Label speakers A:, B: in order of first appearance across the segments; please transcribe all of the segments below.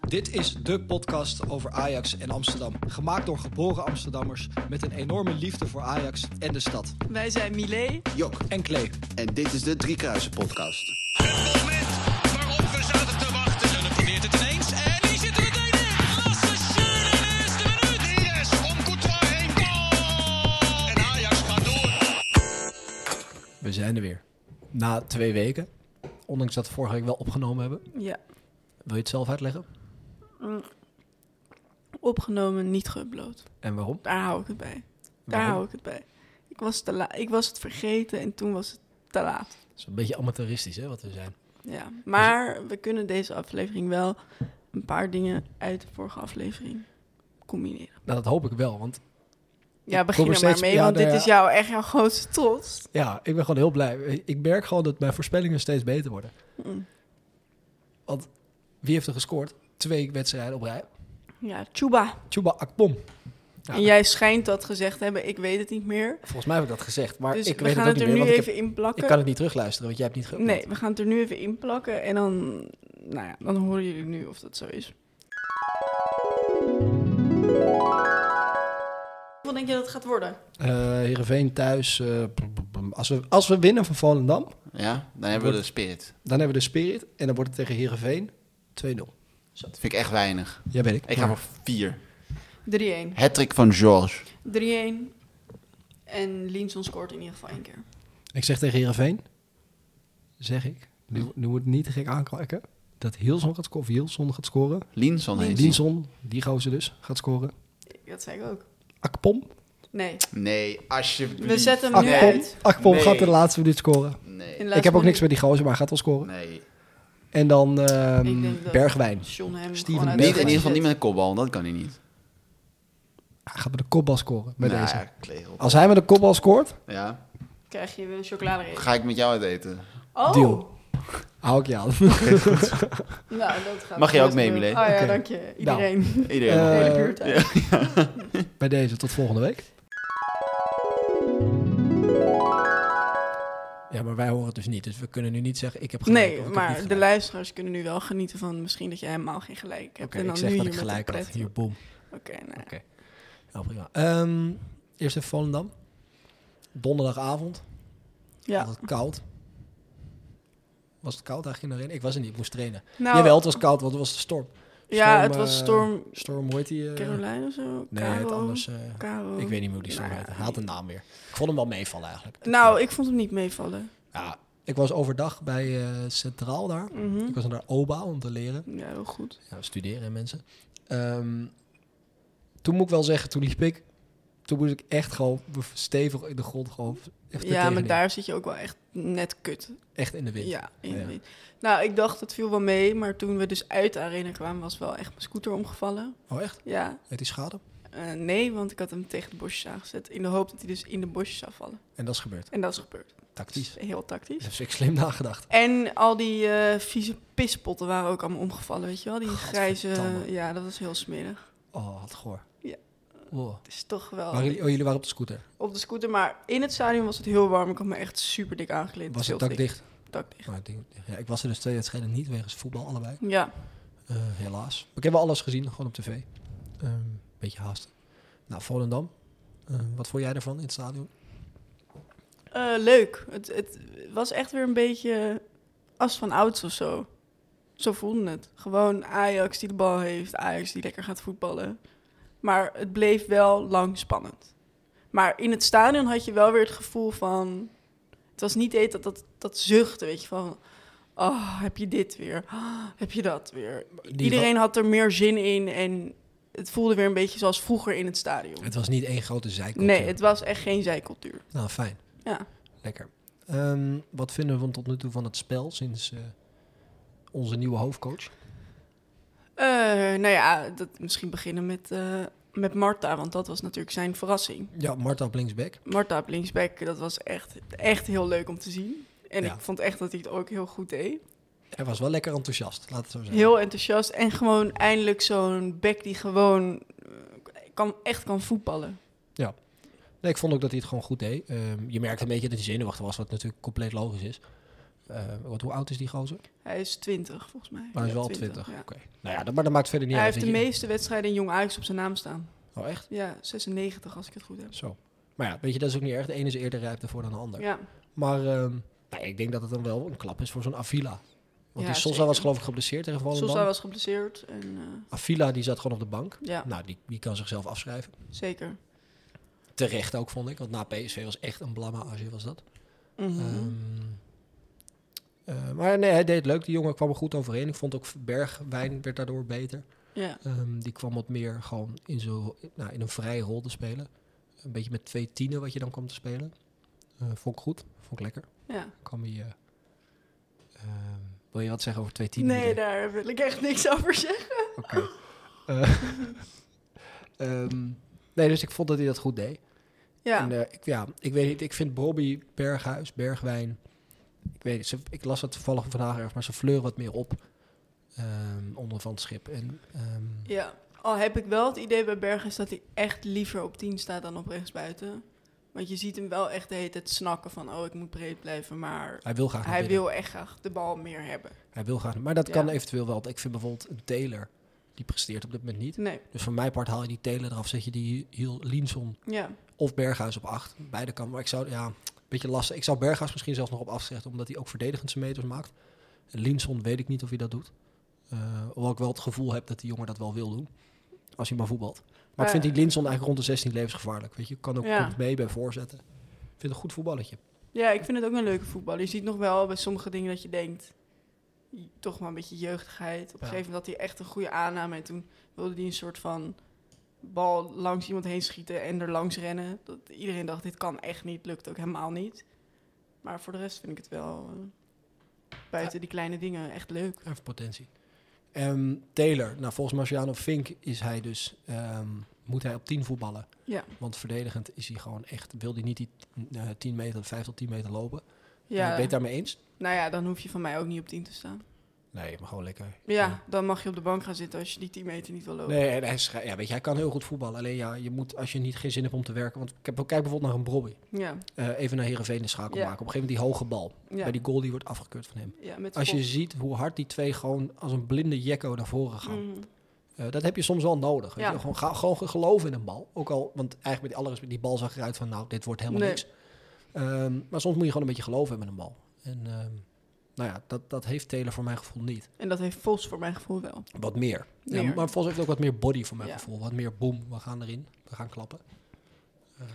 A: Dit is de podcast over Ajax en Amsterdam. Gemaakt door geboren Amsterdammers met een enorme liefde voor Ajax en de stad.
B: Wij zijn Milé.
C: Jok.
A: En Klee.
C: En dit is de Driekruisen podcast.
D: Het moment waarop we zaten te wachten. En dan probeert het ineens. En die zit er meteen in. Lasse Schöne in de eerste minuut. Diaz om Courtois heen. Goal! En Ajax gaat door.
A: We zijn er weer. Na twee weken. Ondanks dat we vorige week wel opgenomen hebben.
B: Ja.
A: Wil je het zelf uitleggen?
B: Opgenomen, niet geüpload.
A: En waarom?
B: Daar hou ik het bij. Daar
A: Waarom?
B: hou ik het bij. Ik was, te la- ik was het vergeten en toen was het te laat.
A: Het is een beetje amateuristisch hè, wat we zijn.
B: Ja. Maar we kunnen deze aflevering wel een paar dingen uit de vorige aflevering combineren.
A: Nou, dat hoop ik wel. Want
B: Ja,
A: er
B: begin er maar
A: steeds-
B: mee,
A: ja,
B: want
A: nou
B: dit
A: ja.
B: is jouw, echt jouw grootste trots.
A: ja, ik ben gewoon heel blij. Ik merk gewoon dat mijn voorspellingen steeds beter worden.
B: Mm.
A: Want wie heeft er gescoord? Twee wedstrijden op rij.
B: Ja, Chuba.
A: Chuba Akpom. Ja.
B: En jij schijnt dat gezegd te hebben, ik weet het niet meer.
A: Volgens mij heb ik dat gezegd. Maar
B: dus
A: ik
B: we
A: weet
B: gaan
A: het ook
B: het,
A: niet
B: er
A: meer.
B: nu
A: want ik heb-
B: even in plakken.
A: Ik kan het niet terugluisteren, want jij hebt niet geüpload.
B: Nee, we gaan het er nu even in plakken en dan, nou ja, dan horen jullie nu of dat zo is. Wat denk je dat het gaat worden?
A: Eh, Heerenveen thuis. eh, p- p- p- als, we, als we winnen van Volendam,
C: Ja, dan hebben we de spirit.
A: dan hebben we de spirit. En dan wordt het tegen Heerenveen 2-0.
C: Dus Dat vind ik echt weinig.
A: Ja, weet ik.
C: Ik ga voor vier.
B: 3-1.
C: Hattrick van George.
B: 3-1. En Linson scoort in ieder geval één keer.
A: Ik zeg tegen Heerenveen, zeg ik, nu, nu moet het niet te gek aankijken, dat Hilson gaat scoren, of Hilson gaat scoren.
C: Linson heet die.
A: Dienson, die gozer dus, gaat scoren.
B: Dat zei ik ook.
A: Akpom,
B: Nee.
C: Nee, alsjeblieft.
B: We zetten hem nu
A: Akpom,
B: uit.
A: Akpom
C: Nee.
A: gaat in de laatste minuut scoren.
C: Nee.
B: In
C: Nee.
B: de
A: ik heb ook niks
B: laatste
A: met die gozer, maar hij gaat wel scoren.
C: Nee.
A: En dan ehm,
B: Ik denk dat-
A: Bergwijn.
B: minuut John hem
A: Steven
B: gewoon
A: Bergwijn.
B: uit de
C: Niet, in
B: wedstrijd
C: ieder geval niet met
B: zet.
C: een kopbal, want dat kan hij niet.
A: Hij gaat met de kopbal scoren, met
C: Nou,
A: deze.
C: ja, klegel.
A: Als hij met de kopbal scoort,
C: Ja,
B: Krijg je weer een chocoladereep.
C: ga ik met jou uit eten.
B: Oh!
A: Deal. hou ik je aan.
B: Nou, dat gaat
C: Mag jij ook
B: best
C: mee,
B: goed.
C: Milé?
B: Oh ja,
A: Oké.
B: dank je. Iedereen.
C: Iedereen.
A: Eh,
B: De
C: nog.
B: hele buurt eigenlijk.
A: Bij deze, tot volgende week.
E: Ja, maar wij horen het dus niet. Dus we kunnen nu niet zeggen, ik heb gelijk.
B: Nee,
E: of ik heb
B: maar
E: niet
B: de
E: gelijk.
B: luisteraars kunnen nu wel genieten van misschien dat je helemaal geen gelijk hebt.
E: Oké,
B: en dan
E: ik zeg
B: nu
E: dat
B: hier
E: ik
B: met de
E: gelijk had.
B: pret.
E: Hier, boom.
B: Oké, nou.
E: Oké. Ja, prima. Ehm, eerst even Volendam.
A: Donderdagavond,
B: Ja.
E: Altijd koud. Was het koud eigenlijk in de arena? Ik was er niet, ik moest trainen.
B: Nou,
E: Jawel, het was koud, want het was de storm.
B: ja,
E: storm,
B: het was
E: eh,
B: storm
E: Storm, hoe heet die? eh?
B: Caroline of zo?
E: nee,
B: Caro,
E: het anders. eh,
B: Caro.
E: ik weet niet meer hoe die storm
B: Nou,
E: heette. Hij had een naam weer. Ik vond hem wel meevallen eigenlijk.
B: Nou, ik vond hem niet meevallen.
E: Ja, ik was overdag bij eh, Centraal daar.
B: Mhm.
E: Ik was naar OBA om te leren.
B: Ja, heel goed.
E: ja, studeren hè, mensen. Ehm, toen moet ik wel zeggen, toen liep ik. Toen moest ik echt gewoon stevig in de grond gewoon. Echt er
B: Ja, maar
E: tegenin.
B: daar zit je ook wel echt net kut.
E: Echt in de wind.
B: Ja, in de
E: Ja.
B: wind. Nou, ik dacht, het viel wel mee. Maar toen we dus uit de arena kwamen, was wel echt mijn scooter omgevallen.
E: Oh, echt?
B: Ja.
E: Heeft die schade?
B: Eh, nee, want ik had hem tegen de bosjes aangezet. In de hoop dat hij dus in de bosjes zou vallen.
E: En dat is gebeurd.
B: En dat is gebeurd. Dat
E: Tactisch.
B: is heel tactisch.
E: Dat heb ik slim nagedacht.
B: En al die eh, vieze pispotten waren ook allemaal omgevallen, weet je wel? Die grijze...
E: Godverdamme.
B: Ja, dat was heel smerig.
E: Oh, wat goor.
B: Ja.
E: Oh.
B: Het is toch wel...
E: Waren jullie, oh, jullie waren op de scooter.
B: Op de scooter, maar in het stadion was het heel warm. Ik had me echt super dik aangekleed.
E: Was het
B: Heel
E: dak
B: dik.
E: dicht?
B: Dakdicht.
E: Nou, ik denk- ja, ik was er dus twee wedstrijden niet wegens voetbal, allebei.
B: Ja,
E: Eh, helaas. Maar ik heb wel alles gezien, gewoon op tv. Ehm beetje haast. Nou, Volendam. Ehm, wat vond jij ervan in het stadion?
B: Eh, leuk. Het, het was echt weer een beetje as van ouds of zo. Zo voelde het. Gewoon Ajax die de bal heeft, Ajax die lekker gaat voetballen. Maar het bleef wel lang spannend. Maar in het stadion had je wel weer het gevoel van... Het was niet eet dat, dat, dat zuchten, weet je, van... Oh, heb je dit weer? Ah, heb je dat weer?
E: Die
B: Iedereen had er meer zin in en het voelde weer een beetje zoals vroeger in het stadion.
E: Het was niet één grote zijkant.
B: Nee, het was echt geen zijcultuur.
E: Nou, fijn.
B: Ja.
E: Lekker. Ehm, wat vinden we tot nu toe van het spel sinds eh, onze nieuwe hoofdcoach?
B: Eh, nou ja, dat, misschien beginnen met, eh, met Marta, want dat was natuurlijk zijn verrassing.
E: Ja, Marta op linksback.
B: Marta op linksback, dat was echt, echt heel leuk om te zien. En
E: Ja.
B: ik vond echt dat hij het ook heel goed deed.
E: Hij was wel lekker enthousiast, laat het zo zeggen.
B: Heel enthousiast en gewoon eindelijk zo'n back die gewoon eh, kan, echt kan voetballen.
E: Nee, ik vond ook dat hij het gewoon goed deed. Ehm, je merkte een beetje dat hij zenuwachtig was, wat natuurlijk compleet logisch is. eh, wat, hoe oud is die gozer?
B: Hij is 20 volgens mij.
E: Maar hij is
B: Ja,
E: wel 20.
B: ja.
E: Oké. Nou ja, dat, maar dat maakt verder niet
B: hij
E: uit.
B: heeft de
E: dat je-
B: meeste wedstrijden in Jong Ajax op zijn naam staan.
E: Oh, echt?
B: Ja, 96 als ik het goed heb.
E: Zo. Maar ja, weet je, dat is ook niet erg. De ene is eerder rijp ervoor dan de ander.
B: Ja,
E: Maar ehm, nou, ik denk dat het dan wel een klap is voor zo'n Avila. Want
B: Ja,
E: die Sosa
B: zeker.
E: was geloof ik geblesseerd tegen Volendam.
B: Sosa was geblesseerd. En, eh,
E: Avila die zat gewoon op de bank.
B: ja,
E: Nou, die, die kan zichzelf afschrijven.
B: zeker.
E: Terecht ook, vond ik. Want na PSV was echt een blamage, was dat.
B: Mhm.
E: Ehm, eh, maar nee, hij deed het leuk. Die jongen kwam er goed overheen. Ik vond ook Bergwijn werd daardoor beter.
B: ja,
E: Ehm, die kwam wat meer gewoon in, zo, nou, in een vrije rol te spelen. Een beetje met twee tienen wat je dan kwam te spelen. Eh, vond ik goed. Vond ik lekker.
B: ja.
E: Kwam hij, eh, ehm, wil je wat zeggen over twee tienen?
B: Nee,
E: die
B: daar wil ik echt niks over zeggen.
E: Oké. Eh, ehm, nee, dus ik vond dat hij dat goed deed.
B: Ja,
E: En, eh, ik, ja, ik weet niet. Ik vind Bobby, Berghuis, Bergwijn. Ik weet niet. Ze, ik las dat toevallig vandaag ergens, maar ze fleuren wat meer op. ehm, onder van het schip. En, ehm,
B: ja. Al heb ik wel het idee bij Berghuis dat hij echt liever op 10 staat dan op rechtsbuiten. Want je ziet hem wel echt de hele tijd snakken van, oh, ik moet breed blijven. Maar
E: hij wil graag naar
B: hij
E: binnen.
B: wil echt graag de bal meer hebben.
E: Hij wil graag. Maar dat
B: Ja.
E: kan eventueel wel. want Ik vind bijvoorbeeld een Taylor. Die presteert op dit moment niet.
B: Nee,
E: Dus van mijn part haal je die Taylor eraf. Zet je die Hiel- Linson
B: ja.
E: of Berghuis op 8. Beide kan. Maar ik zou, ja, een beetje lastig. Ik zou Berghuis misschien zelfs nog op afzetten. Omdat hij ook verdedigend zijn meters maakt. En Linson weet ik niet of hij dat doet. Eh hoewel ik wel het gevoel heb dat die jongen dat wel wil doen. Als hij maar voetbalt. Maar ik
B: Eh.
E: vind die Linson eigenlijk rond de 16 levensgevaarlijk. Weet je, kan ook
B: Ja.
E: komt mee bij voorzetten. Ik vind het een goed voetballetje.
B: Ja, ik vind het ook een leuke voetbal. Je ziet nog wel bij sommige dingen dat je denkt, j- toch maar een beetje jeugdigheid. Op een
E: Ja.
B: gegeven moment had hij echt een goede aanname en toen wilde hij een soort van bal langs iemand heen schieten en er langs rennen. Dat iedereen dacht, dit kan echt niet, lukt ook helemaal niet. Maar voor de rest vind ik het wel, eh, buiten die kleine dingen, echt leuk.
E: Hij heeft potentie. Ehm, Taylor, nou volgens Marciano Fink is hij dus, ehm, moet hij op 10 voetballen.
B: Ja.
E: Want verdedigend is hij gewoon echt, wil hij niet die eh 10 meter, 5 tot 10 meter lopen. Ja.
B: Ja,
E: ben je het daarmee eens?
B: nou ja, dan hoef je van mij ook niet op 10 te staan.
E: Nee, maar gewoon lekker.
B: Ja, dan mag je op de bank gaan zitten als je die 10 meter niet wil lopen.
E: Nee, en hij, is, ja, weet je, hij kan heel goed voetballen. Alleen ja, je moet, als je niet geen zin hebt om te werken. Want ik heb, kijk bijvoorbeeld naar een Brobby.
B: Ja,
E: Eh, even naar Heerenveen de schakel
B: Ja.
E: maken. Op een gegeven moment die hoge bal.
B: ja,
E: Bij die goal die wordt afgekeurd van hem.
B: ja met
E: Als je
B: Vos.
E: ziet hoe hard die twee gewoon als een blinde jekko naar voren gaan.
B: Mhm.
E: Eh, dat heb je soms wel nodig. Weet
B: Ja.
E: je? Gewoon, ga, gewoon ge- geloven in een bal. Ook al, want eigenlijk met die alle respect, die bal zag eruit van, nou, dit wordt helemaal
B: Nee.
E: niks. Ehm, maar soms moet je gewoon een beetje geloven hebben in een bal. En ehm, nou ja, dat, dat heeft Taylor voor mijn gevoel niet.
B: En dat heeft Vos voor mijn gevoel wel.
E: Wat meer. Ja,
B: Meer.
E: maar Vos heeft ook wat meer body voor mijn
B: Ja.
E: gevoel. Wat meer boom, we gaan erin, we gaan klappen. Ehm,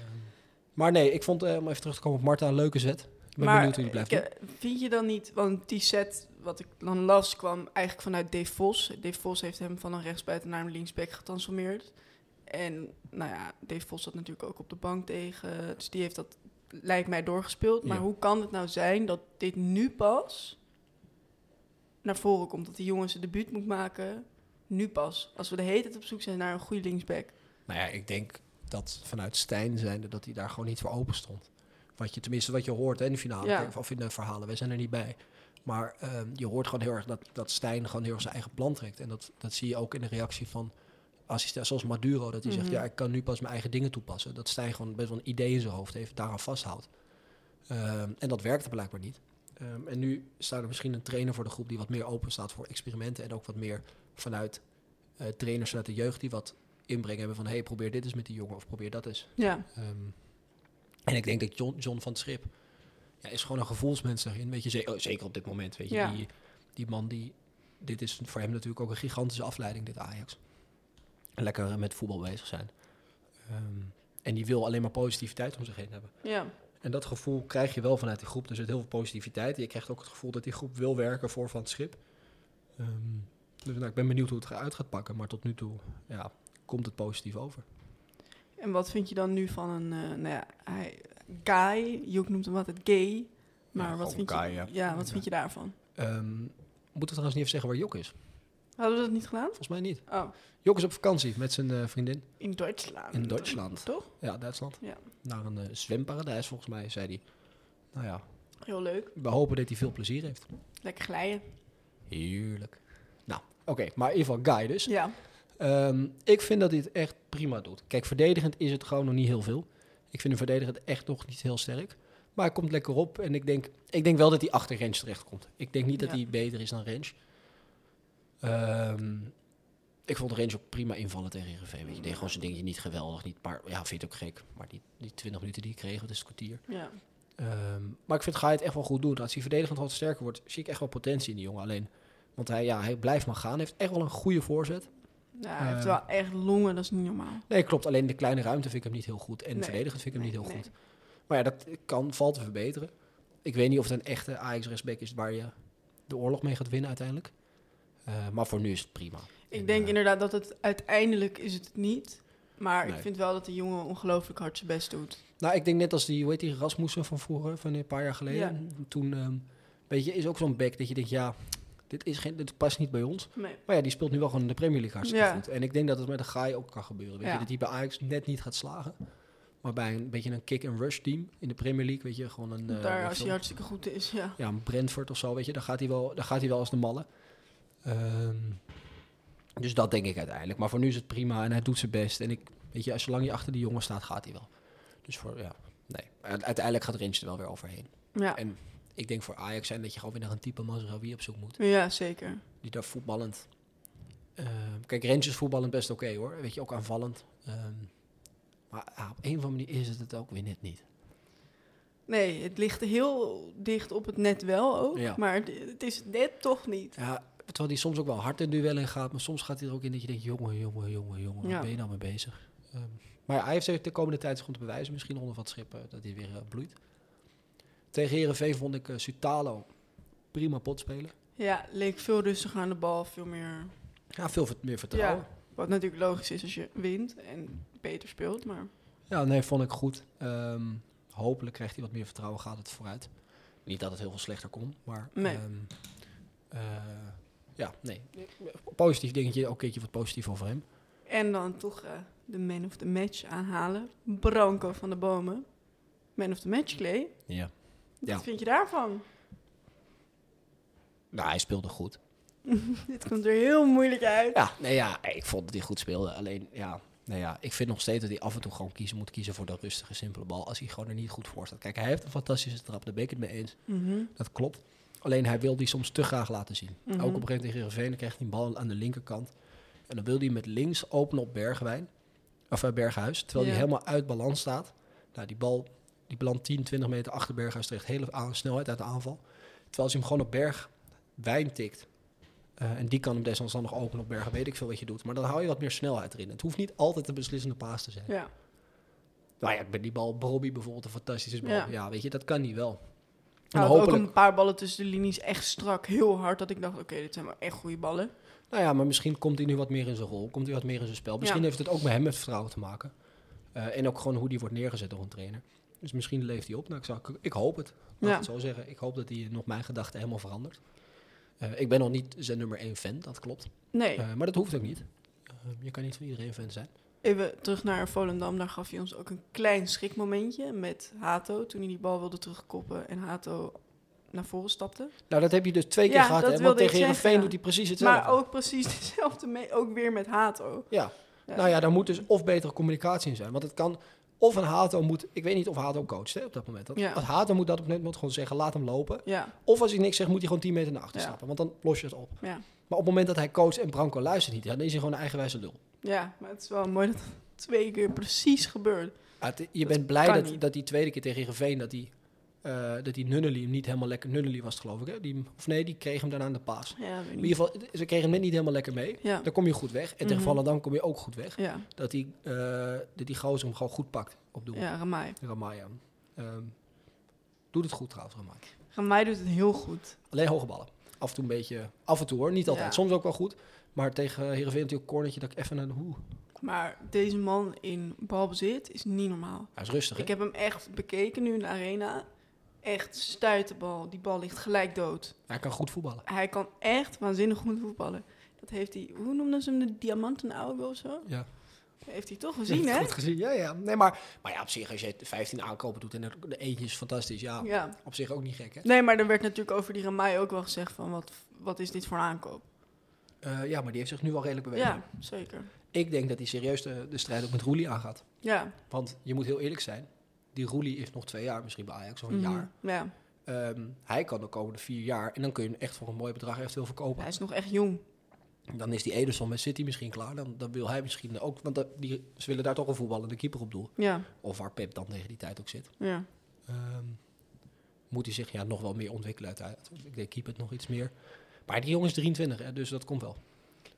E: maar nee, ik vond, eh, om even terug te komen op Marta, een leuke zet. Ik ben benieuwd hoe die blijft
B: ik,
E: doen.
B: eh, vind je dan niet, want die set wat ik dan las kwam eigenlijk vanuit Dave Vos. Dave Vos heeft hem van een rechtsbuiten naar een linksback getransformeerd. En nou ja, Dave Vos zat natuurlijk ook op de bank tegen. Dus die heeft dat, lijkt mij, doorgespeeld. Maar
E: Ja.
B: hoe kan het nou zijn dat dit nu pas naar voren komt? Dat die jongen zijn debuut moet maken, nu pas. Als we de hele tijd op zoek zijn naar een goede linksback.
E: Nou ja, ik denk dat vanuit Stijn zijnde dat hij daar gewoon niet voor open stond. Wat je tenminste wat je hoort hè, in de finale
B: Ja.
E: kijk, of in de verhalen, wij zijn er niet bij. Maar ehm, je hoort gewoon heel erg dat, dat Stijn gewoon heel erg zijn eigen plan trekt. En dat, dat zie je ook in de reactie van assistent zoals Maduro. Dat hij
B: Mhm.
E: zegt, ja, ik kan nu pas mijn eigen dingen toepassen. Dat Stijn gewoon best wel een idee in zijn hoofd heeft, daaraan vasthoudt. Ehm, en dat werkte blijkbaar niet. Ehm, en nu staat er misschien een trainer voor de groep die wat meer open staat voor experimenten. En ook wat meer vanuit eh, trainers vanuit de jeugd die wat inbreng hebben van... hé, hey, probeer dit eens met die jongen of probeer dat eens.
B: Ja,
E: Ehm, en ik denk dat John, John van het Schip ja, is gewoon een gevoelsmens daarin. Weet je, ze- oh, zeker op dit moment. Weet je,
B: Ja.
E: die, die man die... Dit is voor hem natuurlijk ook een gigantische afleiding, dit Ajax. Lekker eh, met voetbal bezig zijn. Ehm, en die wil alleen maar positiviteit om zich heen hebben.
B: ja,
E: En dat gevoel krijg je wel vanuit die groep. Er zit heel veel positiviteit. Je krijgt ook het gevoel dat die groep wil werken voor Van het Schip. Ehm, dus nou, ik ben benieuwd hoe het eruit gaat pakken. Maar tot nu toe ja, komt het positief over.
B: En wat vind je dan nu van een, eh, nou ja, hij, guy, Joek noemt hem altijd gay, maar
C: Ja,
B: wat
C: gewoon
B: vind je,
C: guy,
B: ja.
C: ja.
B: wat vind je daarvan?
E: Ehm, moeten we trouwens niet even zeggen waar Jok is?
B: Hadden we dat niet gedaan?
E: Volgens mij niet.
B: Oh,
E: Jok is op vakantie met zijn eh, vriendin
B: in Duitsland.
E: in Duitsland.
B: Toch?
E: Ja, Duitsland.
B: Ja.
E: Naar een eh, zwemparadijs volgens mij, zei hij. Nou ja,
B: Heel leuk.
E: we hopen dat hij veel plezier heeft.
B: Lekker glijden.
E: Heerlijk. Nou, oké. maar in ieder geval Guy dus.
B: Ja,
E: Ehm, ik vind dat hij het echt prima doet. Kijk, verdedigend is het gewoon nog niet heel veel. Ik vind hem verdedigend echt nog niet heel sterk. Maar hij komt lekker op. En ik denk, ik denk wel dat hij achter Rens terechtkomt. Ik denk niet dat
B: Ja.
E: hij beter is dan Rens. Ehm, ik vond Rens ook prima invallen tegen Heerenveen. Weet je, die deed gewoon zijn dingetje niet geweldig. Niet paar, ja, vind het ook gek. Maar die, die 20 minuten die hij kreeg, dat is het kwartier.
B: Ja.
E: Ehm, maar ik vind Ga het echt wel goed doen. Als hij verdedigend wat sterker wordt, zie ik echt wel potentie in die jongen. Alleen, want hij, ja, hij blijft maar gaan. Hij heeft echt wel een goede voorzet.
B: Ja, hij heeft
E: Eh.
B: wel echt longen, dat is niet normaal.
E: Nee, klopt. Alleen de kleine ruimte vind ik hem niet heel goed. En
B: Nee.
E: verdedigend vind ik hem
B: Nee,
E: niet heel
B: nee.
E: goed. Maar ja, dat kan, valt te verbeteren. Ik weet niet of het een echte ajax rechtsback is waar je de oorlog mee gaat winnen uiteindelijk. Eh, maar voor nu is het prima. En,
B: Ik denk
E: eh,
B: inderdaad dat het uiteindelijk is het niet. Maar
E: Nee.
B: ik vind wel dat de jongen ongelooflijk hard zijn best doet.
E: Nou, ik denk net als die, hoe heet die, Rasmussen van vroeger, van een paar jaar geleden. Toen, ehm, weet je, is ook zo'n back dat je denkt, ja, dit, is geen, dit past niet bij ons.
B: Nee.
E: Maar ja, die speelt nu wel gewoon in de Premier League hartstikke
B: Ja.
E: goed. En ik denk dat het met een Gaai ook kan gebeuren. Weet je,
B: Ja.
E: dat die bij Ajax net niet gaat slagen. Maar bij een beetje een kick-and-rush team in de Premier League, weet je, gewoon een... eh, weet
B: Daar
E: je
B: als hij
E: wel,
B: hartstikke goed is, ja.
E: ja, een Brentford of zo, weet je, dan gaat hij wel, dan gaat hij wel als de malle. Ehm, dus dat denk ik uiteindelijk. Maar voor nu is het prima en hij doet zijn best. En ik, weet je, als zolang je achter die jongen staat, gaat hij wel. Dus voor, ja, nee. Uite- Uiteindelijk gaat Rens er wel weer overheen.
B: Ja,
E: En ik denk voor Ajax zijn dat je gewoon weer naar een type Mazraoui op zoek moet.
B: ja zeker.
E: Die daar voetballend... ehm, kijk, Rens is voetballend best oké hoor. Weet je, ook aanvallend. Ehm, maar ja, op een of andere manier is het het ook weer net niet.
B: Nee, het ligt heel dicht op het net wel ook.
E: Ja.
B: Maar het- het is het net toch niet.
E: Ja, terwijl hij soms ook wel hard in duellen gaat, maar soms gaat hij er ook in dat je denkt, jongen, jongen, jongen, jongen, waar
B: Ja.
E: ben je nou mee bezig? Ehm, maar ja, hij heeft zich de komende tijd gewoon te bewijzen, misschien onder wat schippen, dat hij weer eh, bloeit. Tegen Herenveen vond ik eh, Sutalo prima pot spelen.
B: Ja, leek veel rustiger aan de bal, veel meer...
E: Ja, veel ver- meer vertrouwen.
B: Wat natuurlijk logisch is als je wint en beter speelt, maar...
E: Ja, nee, vond ik goed. Ehm, hopelijk krijgt hij wat meer vertrouwen, gaat het vooruit. Niet dat het heel veel slechter kon, maar...
B: Nee.
E: ehm, eh, ja, nee. Positief dingetje, ook een keertje wat positief over hem.
B: En dan toch eh, de man of the match aanhalen. Branco van de Bomen. Man of the match, Clay.
E: Ja. Ja.
B: Wat vind je daarvan?
E: Nou, hij speelde goed.
B: Dit komt er heel moeilijk uit.
E: Ja, nee, ja, ik vond dat hij goed speelde. Alleen, ja, nou ja, ik vind nog steeds dat hij af en toe gewoon kiezen moet kiezen voor de rustige, simpele bal. Als hij gewoon er niet goed voor staat. Kijk, hij heeft een fantastische trap, daar ben ik het mee eens.
B: Mhm.
E: Dat klopt. Alleen hij wil die soms te graag laten zien. Ook op
B: Mhm.
E: een gegeven moment tegen Heerenveen, dan krijgt hij een bal aan de linkerkant. En dan wil hij met links openen op Bergwijn. Of eh, Berghuis. Terwijl
B: Ja.
E: hij helemaal uit balans staat. Nou, die bal die belandt 10, 20 meter achter Berghuis terecht. Hele aan, snelheid uit de aanval. Terwijl als hij hem gewoon op Bergwijn tikt. eh, en die kan hem desondanks nog openen op Bergen. Weet ik veel wat je doet. Maar dan hou je wat meer snelheid erin. Het hoeft niet altijd de beslissende paas te zijn.
B: Ja.
E: Nou ja, met die bal, Bobby bijvoorbeeld, een fantastische bal. Ja.
B: Ja.
E: weet je, dat kan niet wel. En
B: Hij had ook een paar ballen tussen de linies echt strak, heel hard. Dat ik dacht, oké, dit zijn wel echt goede ballen.
E: Nou ja, maar misschien komt hij nu wat meer in zijn rol. Komt hij wat meer in zijn spel. Misschien
B: Ja.
E: heeft het ook met hem met vertrouwen te maken. Eh, en ook gewoon hoe die wordt neergezet door een trainer. Dus misschien leeft hij op. Nou, ik, zou, ik hoop het. Laat ik
B: Ja.
E: het zo zeggen. Ik hoop dat hij nog mijn gedachten helemaal verandert. Eh, ik ben nog niet zijn nummer één fan, dat klopt.
B: Nee,
E: Eh, maar dat hoeft ook niet. Eh, je kan niet van iedereen fan zijn.
B: even terug naar Volendam. Daar gaf hij ons ook een klein schrikmomentje met Hato. Toen hij die bal wilde terugkoppen en Hato naar voren stapte.
E: Nou, dat heb je dus twee keer
B: Ja,
E: gehad.
B: dat
E: Hè? Want
B: wilde ik
E: tegen
B: zeggen,
E: Heerenveen
B: ja.
E: doet hij precies hetzelfde.
B: Maar ook precies dezelfde, mee, ook weer met Hato.
E: Ja.
B: Ja.
E: Nou ja, daar moet dus of betere communicatie in zijn. Want het kan, of een Hato moet, ik weet niet of Hato coacht hè, op dat moment. Dat,
B: Ja.
E: Als Hato moet dat op dat moment gewoon zeggen, laat hem lopen.
B: Ja,
E: Of als hij niks zegt, moet hij gewoon 10 meter naar achter
B: Ja.
E: stappen. Want dan los je het op.
B: ja,
E: Maar op het moment dat hij coacht en Branco luistert niet, ja, dan is hij gewoon een eigenwijze lul.
B: ja. Maar het is wel mooi dat het twee keer precies gebeurt.
E: Ja, het- je
B: Dat
E: bent blij
B: kan
E: dat,
B: niet.
E: dat die tweede keer tegen Veen dat die, eh dat die Nunnely hem niet helemaal lekker... Nunnely was het geloof ik, hè? Die, hem- of nee, die kreeg hem daarna aan de paas.
B: Ja, weet
E: In
B: niet.
E: ieder geval, ze kregen hem net niet helemaal lekker mee.
B: Ja.
E: Dan kom je goed weg. En tegen
B: Mhm.
E: Volendam kom je ook goed weg.
B: Ja,
E: Dat die, eh dat die gozer hem gewoon goed pakt op doel.
B: ja, Ramai.
E: Ramaya. Ehm, doet het goed trouwens, Ramaya.
B: Ramai doet het heel goed.
E: Alleen hoge ballen. Af en toe een beetje, af en toe hoor, niet altijd.
B: Ja.
E: Soms ook wel goed. Maar tegen Heerenveen natuurlijk een cornertje dat ik even naar de hoe.
B: Maar deze man in balbezit is niet normaal.
E: Hij is rustig, hè?
B: Ik heb hem echt bekeken nu in de arena. Echt stuit de bal. Die bal ligt gelijk dood.
E: Hij kan goed voetballen.
B: Hij kan echt waanzinnig goed voetballen. Dat heeft hij, hoe noemden ze hem, de diamanten auge of zo?
E: Ja.
B: Heeft hij toch gezien, hè?
E: Goed gezien, ja, ja. Nee, maar, maar ja, op zich, als je 15 aankopen doet en er- de eentje is fantastisch, ja.
B: Ja.
E: Op zich ook niet gek, hè?
B: Nee, maar er werd natuurlijk over die Ramai ook wel gezegd van, wat, wat is dit voor een aankoop?
E: Eh, ja, maar die heeft zich nu wel redelijk bewezen.
B: Ja, zeker.
E: Ik denk dat hij serieus de, de strijd ook met Roelie aangaat.
B: Ja,
E: Want je moet heel eerlijk zijn. Die Roelie heeft nog twee jaar misschien bij Ajax, of een
B: Mhm.
E: jaar.
B: Ja,
E: Ehm, hij kan de komende vier jaar, en dan kun je hem echt voor een mooi bedrag echt veel verkopen.
B: hij is nog echt jong.
E: Dan is die Ederson met City misschien klaar. Dan, dan wil hij misschien ook, want dat, die, ze willen daar toch een voetballende keeper op doel.
B: Ja,
E: Of waar Pep dan tegen die tijd ook zit.
B: ja.
E: Ehm, moet hij zich ja, nog wel meer ontwikkelen uiteraard. Ik denk keep het nog iets meer. Maar die jongen is 23, hè, dus dat komt wel.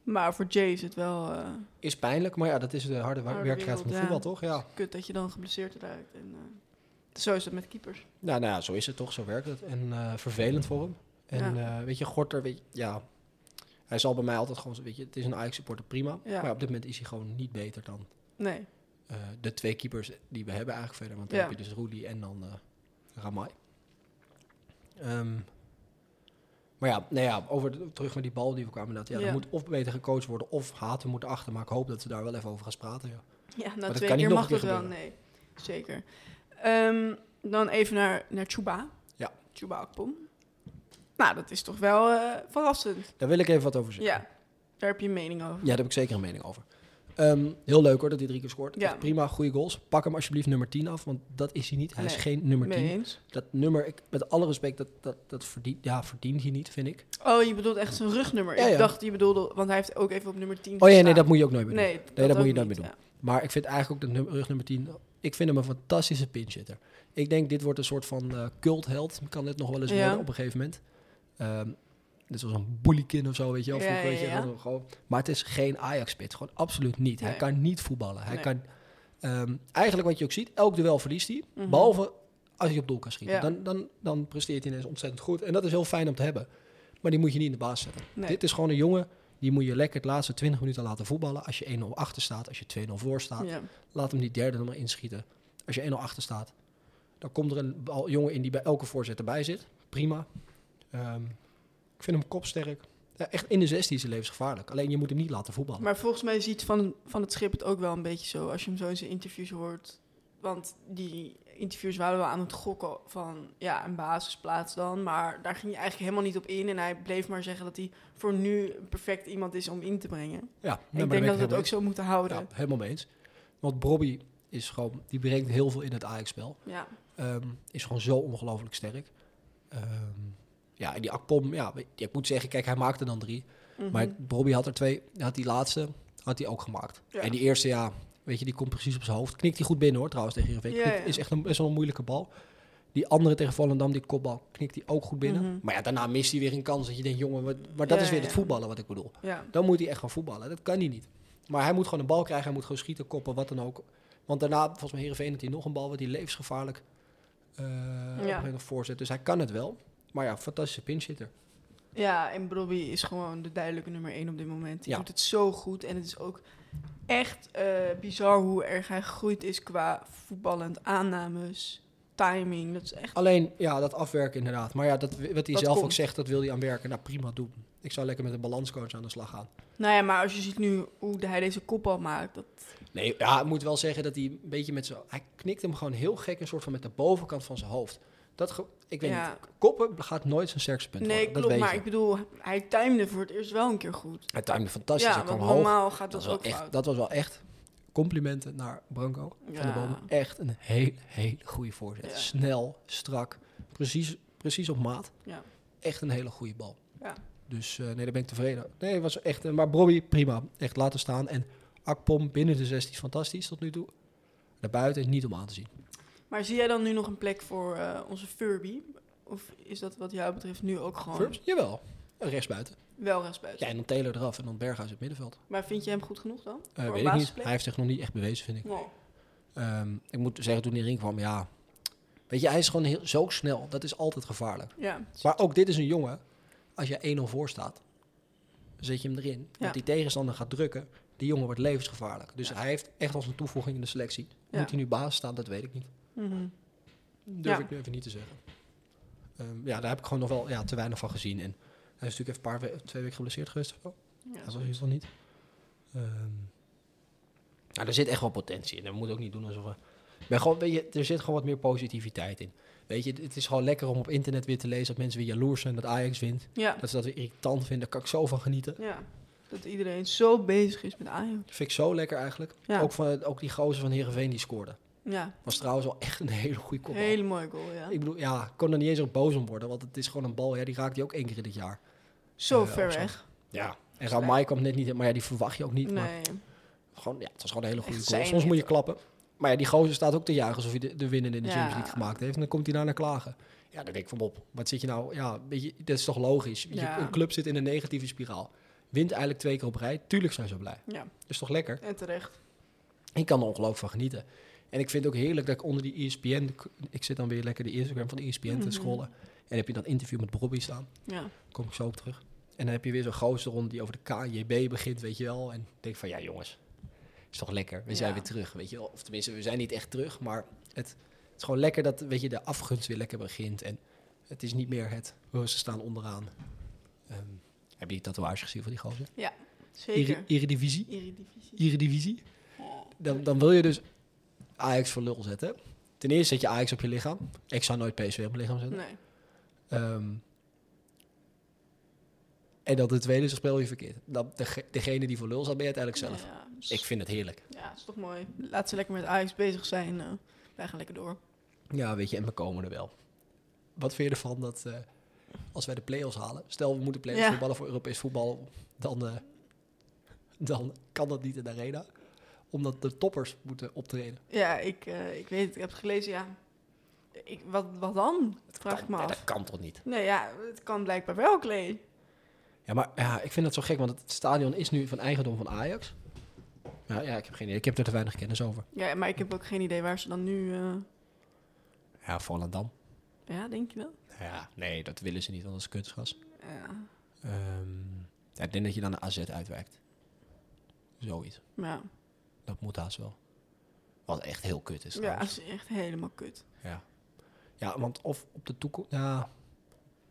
B: Maar voor Jay is het wel eh,
E: Is pijnlijk, maar ja, dat is de harde wa-
B: Harde
E: werkelijkheid van het
B: wereld,
E: voetbal, toch? Ja.
B: kut dat je dan geblesseerd raakt. En, eh, zo is het met keepers.
E: Nou, nou ja, zo is het toch, zo werkt het. En eh, vervelend voor hem. En eh, weet je, Gorter, weet je, ja, hij zal bij mij altijd gewoon, zo- weet je, het is een Ajax-supporter, prima.
B: Ja.
E: Maar op dit moment is hij gewoon niet beter dan
B: Nee.
E: eh, de twee keepers die we hebben eigenlijk verder. Want dan
B: Ja.
E: heb je dus Roelie en dan eh Ramai. Ehm, maar ja, nou ja over de- terug naar die bal die we kwamen. inderdaad. Ja,
B: Ja.
E: Er moet of beter gecoacht worden of haten moet erachter. Maar ik hoop dat ze daar wel even over gaan praten. Ja.
B: Ja,
E: dat
B: na twee
E: kan niet
B: keer
E: nog
B: mag
E: een keer
B: dat wel. Nee, zeker. Ehm, dan even naar, naar Chuba.
E: Ja.
B: Chuba Akpom. Nou, dat is toch wel eh, verrassend.
E: Daar wil ik even wat over zeggen.
B: Ja, daar heb je een mening over.
E: Ja, daar heb ik zeker een mening over. Ehm, heel leuk hoor dat hij drie keer scoort.
B: Ja.
E: Echt prima, goede goals. Pak hem alsjeblieft nummer 10 af, want dat is hij niet. Hij is
B: Nee,
E: geen nummer 10.
B: Mee eens.
E: Dat nummer, ik, met alle respect, dat, dat, dat verdient, ja, verdient hij niet, vind ik.
B: Oh, je bedoelt echt zijn rugnummer.
E: Ja, ja.
B: Ik dacht, je bedoelde... Want hij heeft ook even op nummer 10
E: Oh ja, nee,
B: gestaan.
E: dat moet je ook nooit meer doen.
B: Nee,
E: dat moet
B: ook
E: je dan
B: niet,
E: weer Maar ik vind eigenlijk ook dat nummer, rug nummer 10... Ik vind hem een fantastische pinchitter. Ik denk, dit wordt een soort van eh, cultheld. Kan dit nog wel eens
B: Ja.
E: worden op een gegeven moment. Ehm, dit was een bullykin of zo, weet je wel.
B: Ja,
E: vroeger,
B: ja,
E: weet je,
B: ja.
E: gewoon- gewoon- Maar het is geen Ajax-spits. Gewoon absoluut niet. Hij
B: Nee.
E: kan niet voetballen. Hij
B: Nee.
E: kan... ehm, eigenlijk wat je ook ziet, elk duel verliest hij.
B: Mhm.
E: Behalve als hij op doel kan schieten.
B: Ja.
E: Dan, dan, dan presteert hij ineens ontzettend goed. En dat is heel fijn om te hebben. Maar die moet je niet in de baas zetten.
B: Nee.
E: Dit is gewoon een jongen... Die moet je lekker de laatste 20 minuten laten voetballen. Als je 1-0 achter staat, als je 2-0 voor staat.
B: Ja.
E: Laat hem die derde er maar inschieten. Als je 1-0 achter staat, dan komt er een bal- jongen in die bij elke voorzet erbij zit. Prima. Ehm, ik vind hem kopsterk. Ja, echt in de 16 is hij levensgevaarlijk. Alleen je moet hem niet laten voetballen.
B: Maar volgens mij ziet Van, van het Schip het ook wel een beetje zo. Als je hem zo in zijn interviews hoort. Want die interviews waren wel aan het gokken van ja, een basisplaats dan. Maar daar ging hij eigenlijk helemaal niet op in. En hij bleef maar zeggen dat hij voor nu een perfect iemand is om in te
E: ja,
B: brengen.
E: nou,
B: ik
E: maar daar ben
B: denk dat we het
E: helemaal
B: ook zo moeten houden.
E: eens. Ja, helemaal mee eens. Want Bobby is gewoon, die brengt heel veel in het Ajax-spel.
B: Ja.
E: Ehm, is gewoon zo ongelooflijk sterk. Ehm, ja, en die Akpom, ja, ik moet zeggen, kijk, hij maakte dan drie.
B: Mhm.
E: Maar Bobby had er twee. Hij Had die laatste had hij ook gemaakt.
B: Ja.
E: En die eerste, ja, weet je, die komt precies op zijn hoofd. Knikt hij goed binnen hoor, trouwens, tegen Heerenveen.
B: Ja,
E: Knikt-
B: ja.
E: Is echt een, best wel een moeilijke bal. Die andere tegen Volendam, die kopbal, knikt hij ook goed binnen.
B: Mhm.
E: Maar ja, daarna mist hij weer een kans dat je denkt, jongen, wat, maar dat
B: Ja,
E: is weer
B: ja.
E: het voetballen wat ik bedoel.
B: ja.
E: Dan moet hij echt gaan voetballen. Dat kan hij niet. Maar hij moet gewoon een bal krijgen. Hij moet gewoon schieten, koppen, wat dan ook. Want daarna, volgens mij, Heerenveen had hij nog een bal... wat hij levensgevaarlijk eh, op een gegeven moment voorzet. Dus hij kan het wel. Maar ja, fantastische pinchitter.
B: ja, en Bobby is gewoon de duidelijke nummer één op dit moment. Hij
E: Ja.
B: doet het zo goed. En het is ook echt eh, bizar hoe erg hij gegroeid is qua voetballend aannames, timing. Dat is echt...
E: Alleen, ja, dat afwerken inderdaad. Maar ja, dat, wat hij zelf ook
B: komt.
E: zegt, dat wil hij aan werken. Nou, prima, doen. Ik zou lekker met een balanscoach aan de slag gaan.
B: Nou ja, maar als je ziet nu hoe de- hij deze kopbal maakt. Dat,
E: Nee, ja, ik moet wel zeggen dat hij een beetje met zijn... Hij knikt hem gewoon heel gek, een soort van met de bovenkant van zijn hoofd. Dat, ge- ik weet
B: Ja.
E: niet, koppen gaat nooit zijn sterkste punt
B: nee,
E: worden. Dat
B: klopt.
E: weet
B: Maar
E: je.
B: ik bedoel, hij timde voor het eerst wel een keer goed.
E: Hij timde fantastisch,
B: ja,
E: hij kwam
B: want
E: hoog.
B: normaal gaat
E: Dat,
B: dat,
E: was
B: ook
E: wel echt,
B: fout.
E: dat was wel echt complimenten naar Branco van
B: Ja.
E: de Bomen. Echt een hele, hele goede voorzet.
B: Ja.
E: Snel, strak, precies, precies op maat.
B: Ja.
E: Echt een hele goede bal.
B: Ja.
E: Dus eh, nee, daar ben ik tevreden. Nee, het was echt... eh, maar Bobby, prima. Echt laten staan. En Akpom binnen de 16 fantastisch tot nu toe. Naar buiten niet om aan te zien.
B: Maar zie jij dan nu nog een plek voor eh, onze Furby? Of is dat wat jou betreft nu ook gewoon
E: Verbs? Jawel. Eh, Rechtsbuiten.
B: wel rechtsbuiten?
E: Ja, en dan Taylor eraf en dan Berghuis in het middenveld.
B: Maar vind je hem goed genoeg dan?
E: Eh,
B: voor
E: weet ik
B: een
E: niet.
B: basisplek?
E: Hij heeft zich nog niet echt bewezen, vind ik.
B: Nee.
E: Ehm, ik moet zeggen, toen hij erin kwam, ja... Weet je, hij is gewoon heel, zo snel. Dat is altijd gevaarlijk.
B: Ja.
E: Maar ook dit is een jongen. Als je 1-0 voor staat, zet je hem erin.
B: Ja.
E: Want die tegenstander gaat drukken. Die jongen wordt levensgevaarlijk. Dus hij heeft echt als een toevoeging in de selectie.
B: Ja.
E: Moet hij nu baas staan, dat weet ik niet.
B: Mhm.
E: Durf
B: Ja.
E: ik nu even niet te zeggen. Ehm, ja, daar heb ik gewoon nog wel ja, te weinig van gezien. En hij is natuurlijk even een paar we- twee weken geblesseerd geweest. of zo.
B: Ja,
E: dat was
B: sorry.
E: iets nog niet. Ehm nou, er zit echt wel potentie in. Dat moet ook niet doen alsof we... Ik ben gewoon, weet je, er zit gewoon wat meer positiviteit in. Weet je, het is gewoon lekker om op internet weer te lezen dat mensen weer jaloers zijn dat Ajax wint.
B: ja.
E: Dat ze dat weer irritant vinden, daar kan ik zo van genieten.
B: ja. Dat iedereen zo bezig is met Ajax.
E: Dat vind ik zo lekker eigenlijk.
B: Ja.
E: Ook, van, ook die gozer van Heerenveen die scoorde.
B: Ja,
E: Was trouwens wel echt een hele goede kopbal.
B: hele mooie goal, ja.
E: Ik bedoel, ja, ik kon er niet eens op boos om worden, want het is gewoon een bal. Ja, die raakt hij ook één keer in dit jaar.
B: Zo
E: eh,
B: ver
E: opzet.
B: weg.
E: Ja. En Ramai kwam net niet in, maar ja, die verwacht je ook niet. Maar
B: Nee.
E: gewoon, ja, het was gewoon een hele goede
B: Echt
E: goal.
B: zijn
E: Soms moet je
B: dit.
E: klappen. Maar ja, die gozer staat ook te juichen alsof hij de, de winnende in de
B: Ja.
E: Champions League gemaakt heeft. En dan komt hij daarna klagen. Ja, dan denk ik van op. Wat zit je nou? Ja, weet je, dat is toch logisch? Je-
B: Ja.
E: Een club zit in een negatieve spiraal. Wint eigenlijk twee keer op rij. Tuurlijk zijn ze blij.
B: Ja,
E: is toch lekker?
B: en terecht.
E: Ik kan er ongelooflijk van genieten. En ik vind het ook heerlijk dat ik onder die E ESPN... Ik zit dan weer lekker de Instagram van E de ESPN te
B: Mhm.
E: scrollen. En dan heb je dat interview met Robbie staan.
B: Ja.
E: Kom ik zo op terug. En dan heb je weer zo'n gozer rond die over de KJB begint, weet je wel. En ik denk van, ja jongens, is toch lekker. We zijn
B: Ja.
E: weer terug, weet je wel. Of tenminste, we zijn niet echt terug, maar het, het is gewoon lekker dat, weet je, de afgunst weer lekker begint. En het is niet meer het, oh, ze staan onderaan. Ehm, heb je die tatoeage gezien van die gozer?
B: Zeker.
E: Iri- Eredivisie?
B: Eredivisie.
E: Eredivisie? Dan, dan wil je dus Ajax voor lul zetten. Ten eerste zet je Ajax op je lichaam. Ik zou nooit PSV op mijn lichaam zetten.
B: Nee.
E: Ehm, en dan de tweede is, dan speel je verkeerd. Dan dege- degene die voor lul staat, ben je uiteindelijk zelf.
B: Ja, dus
E: Ik vind het heerlijk.
B: ja, is toch mooi. Laat ze lekker met Ajax bezig zijn. eh. wij gaan lekker door.
E: Ja, weet je, en we komen er wel. Wat vind je ervan dat eh, als wij de play-offs halen... Stel, we moeten play-offs
B: Ja.
E: voetballen voor Europees voetbal... Dan, eh, dan kan dat niet in de arena. Omdat de toppers moeten optreden.
B: Ja, ik, eh, ik weet het. Ik heb het gelezen, ja. Ik, wat, wat dan? vraag ik me
E: Ja,
B: af.
E: dat kan toch niet?
B: Nee, ja, het kan blijkbaar wel, Klee.
E: Ja, maar ja, ik vind dat zo gek, want het stadion is nu van eigendom van Ajax. Ja, ja ik heb geen idee. Ik heb er te weinig kennis over.
B: Ja, maar ik heb ook geen idee waar ze dan nu... eh,
E: Ja, Volendam.
B: ja, denk je wel?
E: Nou Ja, nee, dat willen ze niet, want dat is kunstgas.
B: Ja.
E: Ehm, ja, ik denk dat je dan naar AZ uitwijkt. Zoiets.
B: Ja,
E: Dat moet haast wel. Wat echt heel kut is
B: ja
E: trouwens.
B: dat is echt helemaal kut.
E: Ja. Ja, want of op de toekomst... Ja.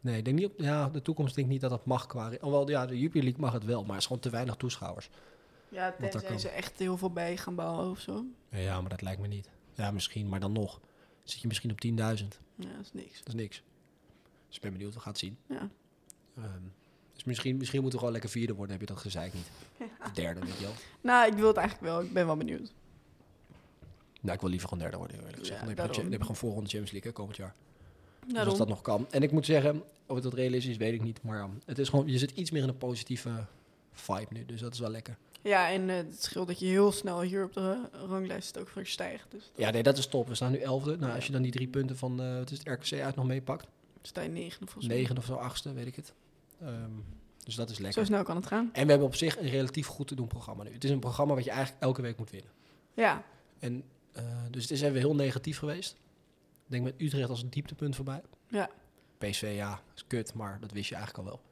E: Nee, ik denk niet op ja, de toekomst denk ik niet dat dat mag qua... Alhoewel, ja, de Jupiler League mag het wel, maar het is gewoon te weinig toeschouwers.
B: Ja,
E: daar
B: tenzij
E: kan.
B: ze echt heel veel bij gaan bouwen of zo.
E: Ja, maar dat lijkt me niet. Ja, misschien, maar dan nog. Zit je misschien op 10.000.
B: Ja, dat is niks.
E: Dat is niks. Dus ik ben benieuwd, we gaan het zien.
B: Ja.
E: Ehm, dus misschien, misschien moeten we gewoon lekker vierde worden, heb je dat gezeik niet. Of derde, weet je wel.
B: Nou, ik wil het eigenlijk wel. Ik ben wel benieuwd.
E: Nou, ik wil liever gewoon derde worden, eerlijk gezegd.
B: Ja,
E: dan, heb je,
B: daarom.
E: dan heb je gewoon voorronde Champions League hè, komend jaar. Dus als
B: Daarom.
E: dat nog kan. En ik moet zeggen, of het dat realistisch is, weet ik niet. Maar ehm, het is gewoon, je zit iets meer in een positieve vibe nu, dus dat is wel lekker.
B: Ja, en eh, het scheelt dat je heel snel hier op de eh, ranglijst ook weer stijgt. Dus
E: Ja, nee, dat is top. We staan nu elfde. Nou, als je dan die drie punten van eh het, is het RKC uit nog meepakt.
B: dan sta je negende volgens mij.
E: Negende of zo, achtste, weet ik het. Ehm, dus dat is lekker.
B: Zo snel kan het gaan.
E: En we hebben op zich een relatief goed te doen programma nu. Het is een programma wat je eigenlijk elke week moet winnen.
B: Ja,
E: En, eh, dus het is even heel negatief geweest. Ik denk met Utrecht als een dieptepunt voorbij.
B: Ja.
E: PSV, ja, is kut, maar dat wist je eigenlijk al wel.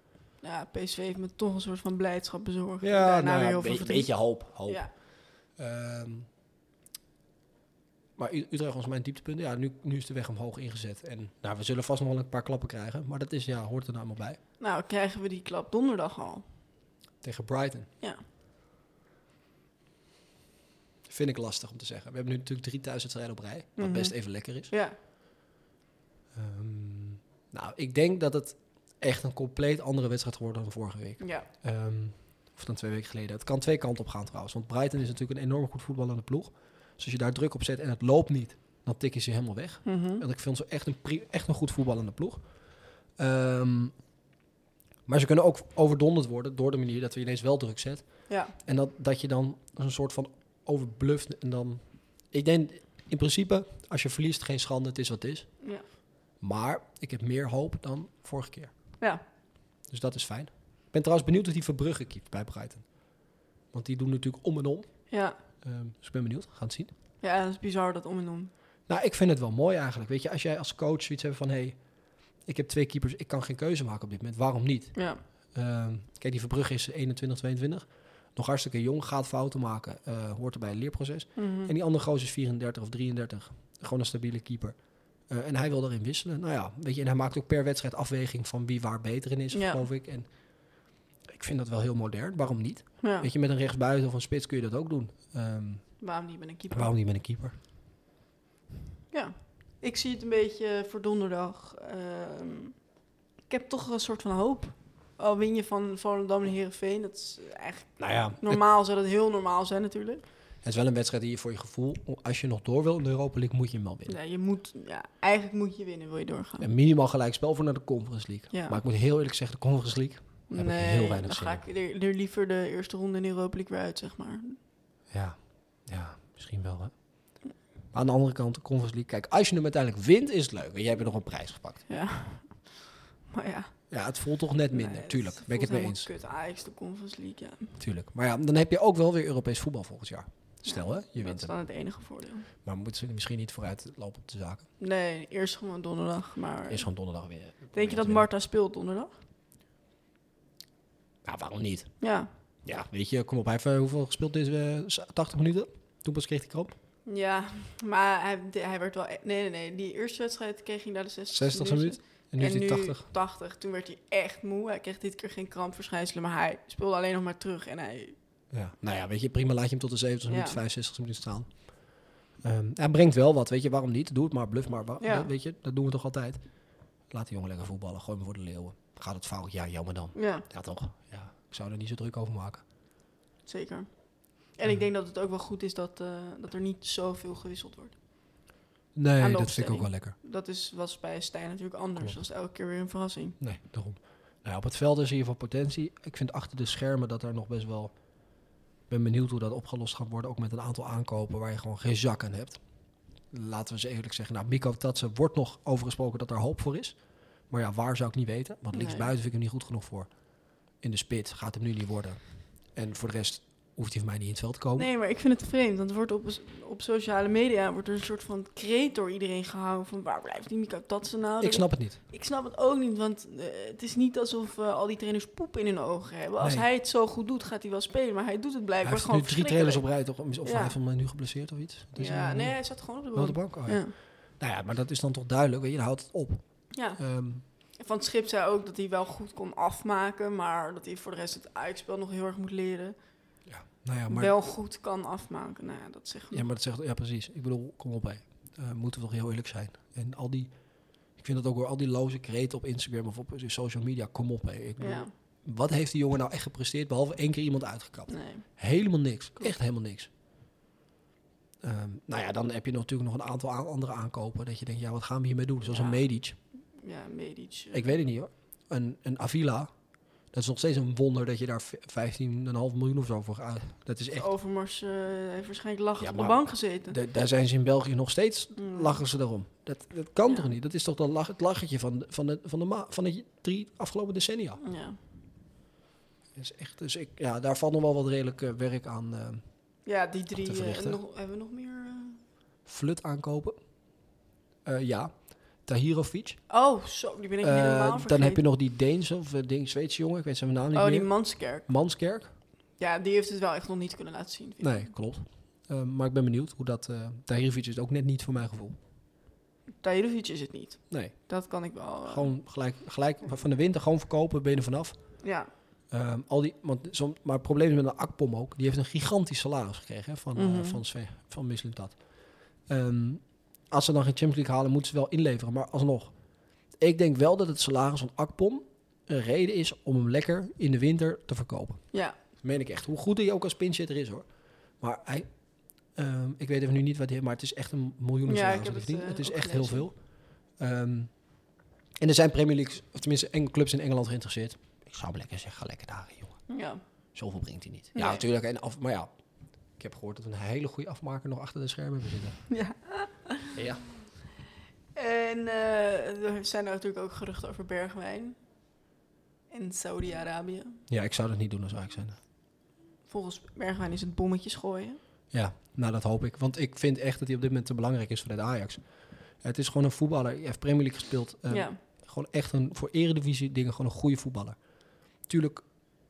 B: ja PSV heeft me toch een soort van blijdschap bezorgd.
E: Ja,
B: Daarna
E: nou,
B: weer
E: ja,
B: heel
E: een
B: veel
E: beetje,
B: verdriet.
E: beetje hoop. hoop.
B: Ja,
E: Ehm, maar U- Utrecht was mijn dieptepunt. Ja, nu, nu is de weg omhoog ingezet. En nou, we zullen vast nog wel een paar klappen krijgen. Maar dat is, ja, hoort er nou allemaal bij.
B: nou krijgen we die klap donderdag al.
E: Tegen Brighton.
B: Ja.
E: Vind ik lastig om te zeggen. We hebben nu natuurlijk drie thuiswedstrijden op rij. Wat
B: Mhm.
E: best even lekker is.
B: Ja,
E: Ehm, nou, ik denk dat het echt een compleet andere wedstrijd wordt dan vorige week.
B: ja.
E: Ehm, of dan twee weken geleden. Het kan twee kanten op gaan trouwens. Want Brighton is natuurlijk een enorm goed voetballende ploeg. Dus als je daar druk op zet en het loopt niet, dan tikken ze je helemaal weg.
B: Mhm.
E: Want ik vind ze echt een, pri- echt een goed voetballende ploeg. Ehm, maar ze kunnen ook overdonderd worden door de manier dat we ineens wel druk zetten.
B: Ja,
E: En dat, dat je dan als een soort van overbluft. En dan. Ik denk in principe, als je verliest, geen schande, het is wat het is.
B: ja.
E: Maar ik heb meer hoop dan vorige keer.
B: Ja,
E: Dus dat is fijn. Ik ben trouwens benieuwd of die Verbrugge keept bij Brighton. Want die doen natuurlijk om en om.
B: ja.
E: Ehm, dus ik ben benieuwd. We gaan het zien.
B: Ja, dat is bizar dat om en om.
E: Nou, ik vind het wel mooi eigenlijk. Weet je, als jij als coach zoiets hebt van... hé, hey, ik heb twee keepers, ik kan geen keuze maken op dit moment. Waarom niet?
B: Ja,
E: Ehm, kijk, die Verbrugge is 21, 22. Nog hartstikke jong, gaat fouten maken. eh, hoort er bij een leerproces.
B: Mhm.
E: En die andere gozer is 34 of 33. Gewoon een stabiele keeper. Eh, en hij wil daarin wisselen. Nou ja, weet je, en hij maakt ook per wedstrijd afweging van wie waar beter in is,
B: Ja.
E: geloof ik. En ik vind dat wel heel modern. Waarom niet?
B: ja.
E: Weet je, met een rechtsbuiten of een spits kun je dat ook doen. Ehm,
B: waarom niet met een keeper?
E: waarom niet met een keeper?
B: Ja, ik zie het een beetje voor donderdag. Ehm, ik heb toch een soort van hoop. Al win je van Volendam en Heerenveen, dat is eigenlijk...
E: Nou ja,
B: Normaal zou dat heel normaal zijn natuurlijk.
E: Het is wel een wedstrijd die je voor je gevoel, als je nog door wil in de Europa League, moet je hem wel winnen.
B: Ja, je moet, ja, eigenlijk moet je winnen, wil je doorgaan.
E: Een minimaal gelijk spel voor naar de Conference League.
B: Ja.
E: Maar ik moet heel eerlijk zeggen, de Conference League heb ik heel weinig
B: dan
E: zin
B: ga ik er, er liever de eerste ronde in de Europa League weer uit, zeg maar.
E: Ja, ja misschien wel. Hè? Maar aan de andere kant, de Conference League. Kijk, als je hem uiteindelijk wint, is het leuk. En jij hebt er nog een prijs gepakt.
B: Ja. Maar ja.
E: Ja, het voelt toch net minder.
B: nee, het
E: tuurlijk, ben ik
B: voelt
E: het mee
B: helemaal
E: eens.
B: Kut, Ajax, de Conference League, ja.
E: Tuurlijk. Maar ja, dan heb je ook wel weer Europees voetbal volgend jaar. Stel hè, je
B: dat
E: wint
B: is
E: hem.
B: dan het enige voordeel.
E: Maar we moeten misschien niet vooruit lopen op de zaken.
B: Nee, eerst gewoon donderdag. Maar
E: Is gewoon donderdag weer.
B: denk je dat Marta speelt donderdag?
E: Ja, waarom niet?
B: Ja.
E: Ja, weet je, kom op. Hij heeft eh, hoeveel gespeeld deze eh, 80 minuten? Toen pas kreeg hij krop.
B: Ja, maar hij, de- hij werd wel... e- Nee, nee, nee. Die eerste wedstrijd kreeg hij naar de 60
E: 60 minuut. En nu is hij 80.
B: 80. Toen werd hij echt moe. Hij kreeg dit keer geen krampverschijnselen, maar hij speelde alleen nog maar terug. En hij...
E: Ja. Nou ja, weet je, prima laat je hem tot de 70
B: Ja.
E: minuten, 65 minuten staan. Ehm, hij brengt wel wat, weet je, waarom niet? Doe het maar, bluff maar. Wa-
B: Ja.
E: dat- Weet je, dat doen we toch altijd. Laat die jongen lekker voetballen, gooi hem voor de leeuwen. Gaat het fout? Ja, jammer dan.
B: Ja,
E: Ja, toch? Ja, ik zou er niet zo druk over maken.
B: zeker. En ik denk dat het ook wel goed is dat, eh, dat er niet zoveel gewisseld wordt.
E: Nee,
B: Aan de
E: dat vind ik ook
B: opstelling.
E: wel lekker.
B: Dat is, was bij Stijn natuurlijk anders.
E: Klopt.
B: Dat is elke keer weer een verrassing.
E: Nee, daarom. Nou ja, op het veld is in ieder geval potentie. Ik vind achter de schermen dat daar nog best wel... Ik ben benieuwd hoe dat opgelost gaat worden. Ook met een aantal aankopen waar je gewoon geen zak aan hebt. Laten we eens eerlijk zeggen. Nou, Miko Tatsen wordt nog overgesproken dat daar hoop voor is. Maar ja, waar zou ik niet weten. Want
B: Nee.
E: linksbuiten vind ik hem niet goed genoeg voor. In de spit gaat hem nu niet worden. En voor de rest hoeft hij van mij niet in het veld te komen.
B: Nee, maar ik vind het vreemd. Want er wordt op, op sociale media wordt er een soort van kreet door iedereen gehouden. Van waar blijft die Mika Tatsen nou?
E: ik snap het niet.
B: Ik snap het ook niet, want eh, het is niet alsof eh, al die trainers poep in hun ogen hebben. Als
E: Nee.
B: hij het zo goed doet, gaat hij wel spelen. Maar hij doet het
E: Hij
B: blijkbaar
E: heeft
B: gewoon
E: nu drie trailers op
B: verschrikkelijk.
E: rij. Toch? Of
B: Ja.
E: hij heeft hem nu geblesseerd of iets. Het is
B: Ja,
E: een-
B: nee, hij zat gewoon op de
E: wel de
B: bank.
E: bank. Oh, ja.
B: Ja.
E: Nou ja, maar dat is dan toch duidelijk. Weet je, dan houdt het op.
B: ja,
E: Ehm,
B: Van het Schip zei ook dat hij wel goed kon afmaken, maar dat hij voor de rest het uitspel nog heel erg moet leren.
E: Ja, nou ja, maar,
B: Wel goed kan afmaken, nou ja, dat zegt
E: ja, maar dat zegt, ja, precies. Ik bedoel, kom op, hé. Eh, moeten we toch heel eerlijk zijn. En al die, ik vind dat ook hoor, al die loze kreten op Instagram of op social media, kom op, hé. Ik bedoel,
B: Ja,
E: Wat heeft die jongen nou echt gepresteerd, behalve één keer iemand uitgekapt?
B: nee.
E: Helemaal niks, echt helemaal niks. Ehm, nou ja, dan heb je natuurlijk nog een aantal aan- andere aankopen, dat je denkt, ja, wat gaan we hiermee doen? Zoals
B: Ja.
E: een Medic,
B: Ja, Medic. eh,
E: ik weet het niet hoor. Een, een Avila, dat is nog steeds een wonder dat je daar v- 15,5 miljoen of zo voor gaat. Dat is echt
B: Overmars eh, heeft waarschijnlijk lachend
E: Ja,
B: op de
E: maar-
B: bank gezeten.
E: Da- daar zijn ze in België nog steeds,
B: Mm.
E: lachen ze daarom. Dat, dat kan
B: Ja.
E: toch niet? Dat is toch dan lach, het lachertje van, de- van, de, van, de ma- van de drie afgelopen decennia.
B: Ja.
E: Dat is echt, dus ik, ja, daar valt nog wel wat redelijk eh, werk aan. eh
B: ja, die drie.
E: Te
B: eh,
E: verrichten.
B: nog, hebben we nog meer? eh?
E: flut aankopen. Eh, ja, Tahirovic.
B: Oh, zo, die ben ik
E: Eh,
B: helemaal vergeten.
E: dan heb je nog die Deense of eh, ding, Zweedse jongen, ik weet zijn naam niet
B: Oh,
E: meer.
B: die Manskerk.
E: Manskerk?
B: Ja, die heeft het wel echt nog niet kunnen laten zien. vind ik.
E: Nee, klopt. Eh, maar ik ben benieuwd hoe dat... eh Tahirovic is ook net niet voor mijn gevoel.
B: Tahirovic is het niet.
E: Nee,
B: Dat kan ik wel. eh,
E: gewoon gelijk, gelijk van de winter gewoon verkopen, ben je er vanaf.
B: ja.
E: Ehm, al die, want som, maar het probleem is met een Akpom ook. Die heeft een gigantisch salaris gekregen hè, van, eh,
B: Mhm.
E: van, Sve, van Mislintat. Ehm, als ze dan geen Champions League halen, moeten ze wel inleveren. Maar alsnog, ik denk wel dat het salaris van Akpom een reden is om hem lekker in de winter te verkopen.
B: ja,
E: Dat meen ik echt. Hoe goed hij ook als pinchitter is hoor. Maar hij, ehm, ik weet even nu niet wat hij heeft, maar het is echt een miljoenen
B: Ja,
E: salaris.
B: ik heb
E: dat
B: het,
E: hij verdient.
B: eh,
E: het is
B: ook
E: echt heel
B: gelezen.
E: veel. Ehm, en er zijn Premier League, of tenminste enkele clubs in Engeland geïnteresseerd. Ik zou hem lekker zeggen, ga lekker daarin jongen.
B: ja.
E: Zoveel brengt hij niet.
B: Nee.
E: Ja, natuurlijk. En af, maar ja, ik heb gehoord dat we een hele goede afmaker nog achter de schermen hebben zitten.
B: ja.
E: Ja.
B: En eh, er zijn er natuurlijk ook geruchten over Bergwijn. In Saudi-Arabië.
E: Ja, ik zou dat niet doen als Ajax zijn.
B: Volgens Bergwijn is het bommetjes gooien.
E: Ja, nou dat hoop ik. Want ik vind echt dat hij op dit moment te belangrijk is voor de Ajax. Het is gewoon een voetballer. Hij heeft Premier League gespeeld. Ehm,
B: ja.
E: Gewoon echt een, voor eredivisie dingen, gewoon een goede voetballer. Tuurlijk,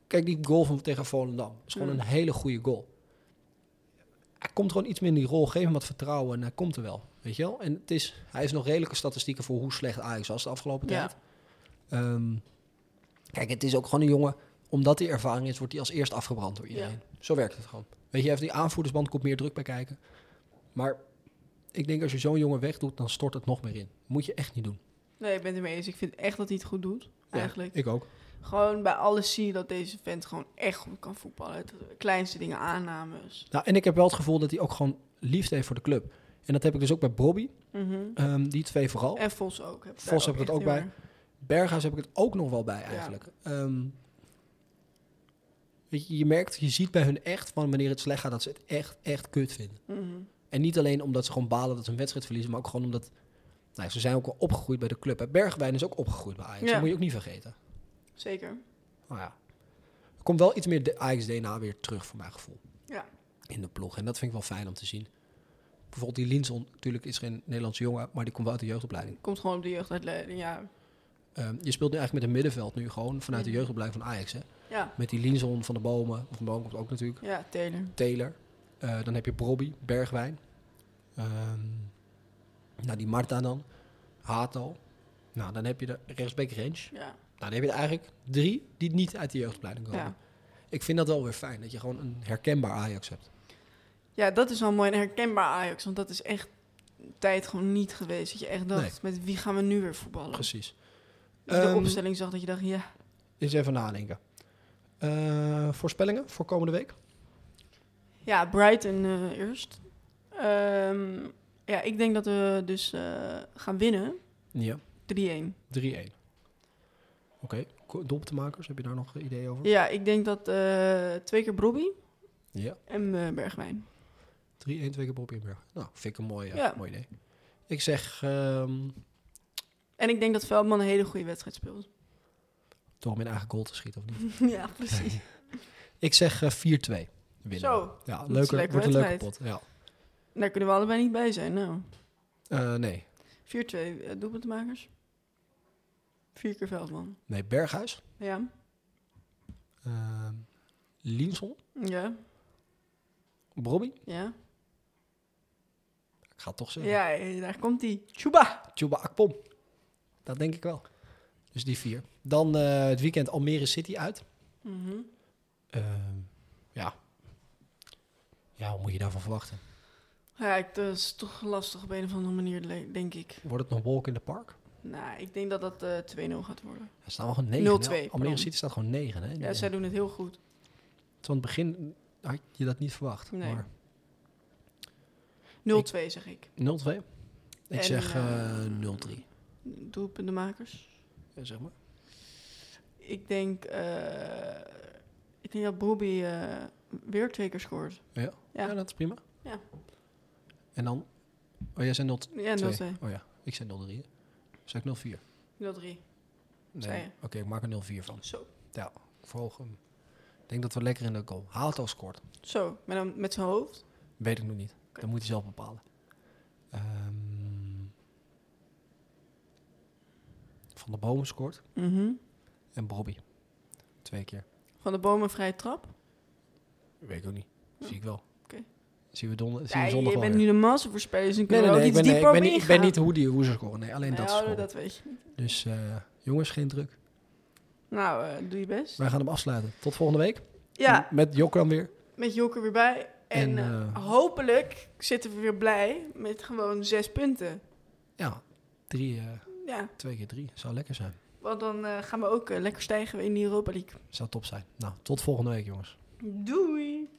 E: kijk die goal van tegen Volendam. is gewoon
B: Mm.
E: een hele goede goal. Hij komt gewoon iets meer in die rol. Geef hem wat vertrouwen en hij komt er wel. Weet je wel? En het is, hij heeft nog redelijke statistieken voor hoe slecht Ajax was de afgelopen
B: Ja.
E: tijd. Ehm, kijk, het is ook gewoon een jongen. Omdat hij ervaring is, wordt hij als eerst afgebrand door iedereen. Zo werkt het gewoon. Weet je, even die aanvoerdersband komt meer druk bij kijken. Maar ik denk als je zo'n jongen wegdoet, dan stort het nog meer in. Moet je echt niet doen.
B: Nee, ik ben het ermee eens. Ik vind echt dat hij het goed doet.
E: Ja,
B: Eigenlijk.
E: Ik ook.
B: gewoon bij alles zie je dat deze vent gewoon echt goed kan voetballen. Het kleinste dingen, aannames.
E: Nou, en ik heb wel het gevoel dat hij ook gewoon liefde heeft voor de club. En dat heb ik dus ook bij Bobby.
B: Mhm.
E: ehm, die twee vooral.
B: En Vos ook. Heb ik daar
E: Vos heb ik dat
B: echt
E: ook
B: heel
E: bij.
B: erg.
E: Berghuis heb ik het ook nog wel bij eigenlijk. Ehm, weet je, je merkt, je ziet bij hun echt van wanneer het slecht gaat dat ze het echt, echt kut vinden.
B: Mhm.
E: En niet alleen omdat ze gewoon balen dat ze een wedstrijd verliezen, maar ook gewoon omdat nou, ze zijn ook al opgegroeid bij de club. Hè. Bergwijn is ook opgegroeid bij Ajax.
B: Ja.
E: Dat moet je ook niet vergeten.
B: Zeker.
E: Nou ja. Er komt wel iets meer de Ajax DNA weer terug voor mijn gevoel.
B: Ja.
E: In de ploeg. En dat vind ik wel fijn om te zien. Bijvoorbeeld die Linson, natuurlijk is geen Nederlandse jongen, maar die komt wel uit de jeugdopleiding.
B: Komt gewoon op de jeugduitleiding, ja.
E: Ehm, je speelt nu eigenlijk met een middenveld nu gewoon vanuit de jeugdopleiding van Ajax. Hè.
B: Ja,
E: Met die Linson van de Bomen. Van de Bomen komt ook natuurlijk.
B: ja Taylor.
E: Taylor. Eh, dan heb je Brobby, Bergwijn. Ehm, nou, die Marta dan. Hato. Nou, dan heb je de rechtsback Range.
B: Ja,
E: Nou, dan heb je er eigenlijk drie die niet uit de jeugdopleiding komen.
B: ja.
E: Ik vind dat wel weer fijn, dat je gewoon een herkenbaar Ajax hebt.
B: ja, dat is wel mooi en herkenbaar Ajax. Want dat is echt een tijd gewoon niet geweest. Dat je echt dacht, met wie gaan we nu weer voetballen?
E: Precies.
B: Dat je de
E: Ehm,
B: opstelling zag dat je dacht, ja.
E: Eens even nadenken. Eh, voorspellingen voor komende week?
B: Ja, Brighton eh, eerst. Ehm, ja, ik denk dat we dus eh, gaan winnen.
E: Ja.
B: 3-1.
E: 3-1. Oké, Ko- doelpuntenmakers, heb je daar nog eh, ideeën over?
B: Ja, ik denk dat eh, twee keer Brobby
E: Ja.
B: en eh, Bergwijn.
E: 3-1, twee keer Bob Inberg. Nou, vind ik een mooi, eh,
B: Ja.
E: mooi idee. Ik zeg ehm
B: En ik denk dat Veldman een hele goede wedstrijd speelt.
E: door mijn eigen goal te schieten, of niet?
B: ja, precies.
E: Ik zeg eh, 4-2 winnen.
B: Zo,
E: Ja,
B: is
E: leuker,
B: een leuke
E: wordt een leuke pot.
B: wedstrijd.
E: Ja.
B: daar kunnen we allebei niet bij zijn. Nou, 4-2
E: Eh, nee.
B: eh, doelpuntenmakers. Vier keer Veldman.
E: nee, Berghuis.
B: Ja,
E: Ehm Linson.
B: ja,
E: Brobby.
B: ja.
E: Ik ga het toch zeggen.
B: Ja, eh, daar komt hij. Chuba!
E: Chuba Akpom. Dat denk ik wel. Dus die vier. Dan eh, het weekend Almere City uit.
B: Mhm.
E: Ehm, ja. Ja, wat moet je daarvan verwachten?
B: Ja, ik- dat is toch lastig op een of andere manier, le- denk ik.
E: Wordt het nog wolk in de park?
B: Nou, ik denk dat dat eh, 2-0 gaat worden.
E: Er staan wel gewoon 9.
B: 0-2,
E: Almere
B: pardon.
E: City staat gewoon 9. Hè?
B: Ja, zij doen het heel goed.
E: Van het begin had je dat niet verwacht.
B: Nee.
E: Maar
B: 0-2 zeg ik.
E: 0-2? Ik
B: En,
E: zeg eh,
B: eh,
E: 0-3.
B: Doelpuntenmakers.
E: Ja, zeg maar.
B: Ik denk, eh, ik denk dat Bobby eh, weer twee keer scoort.
E: Ja. Ja.
B: Ja.
E: dat is prima.
B: Ja.
E: En dan... Oh, jij zei 0
B: Ja,
E: 2.
B: 0-2.
E: Oh ja, ik zei 0-3. hè. Zeg ik 0-4?
B: 0-3. Zei
E: Nee.
B: je.
E: Oké, ik maak er 0-4 van.
B: Zo.
E: Ja, ik verhoog hem. Ik denk dat we lekker in de goal. Haalt al scoort.
B: Zo, met, een- met zijn hoofd.
E: Weet ik nog niet. Dat moet hij zelf bepalen. Ehm, van de Bomen scoort.
B: Mhm.
E: En Bobby. Twee keer.
B: Van de bomen vrije trap.
E: Weet ik ook niet. Zie ik wel.
B: Oké.
E: Zien we donder, zien
B: Ja,
E: we
B: je
E: zondag
B: bent
E: wel weer.
B: nu de massaverspeler, dus dan
E: Nee,
B: kunnen
E: nee, nee,
B: we
E: ik
B: ook
E: ben, nee, ik ben,
B: iets dieper op
E: niet, ik ben
B: ingaan.
E: niet hoe, die, hoe ze scoren. Nee, alleen dat
B: Nou,
E: scoren.
B: dat weet je niet.
E: Dus eh, jongens, geen druk.
B: Nou, eh, doe je best.
E: Wij gaan hem afsluiten. Tot volgende week.
B: Ja,
E: Met Jokram weer.
B: met Joker weer bij.
E: En,
B: En, eh,
E: eh,
B: hopelijk zitten we weer blij met gewoon zes punten.
E: Ja, drie, eh,
B: Ja,
E: twee keer drie. Zou lekker zijn.
B: want dan eh, gaan we ook eh, lekker stijgen in de Europa League.
E: Zou top zijn. Nou, tot volgende week, jongens.
B: Doei!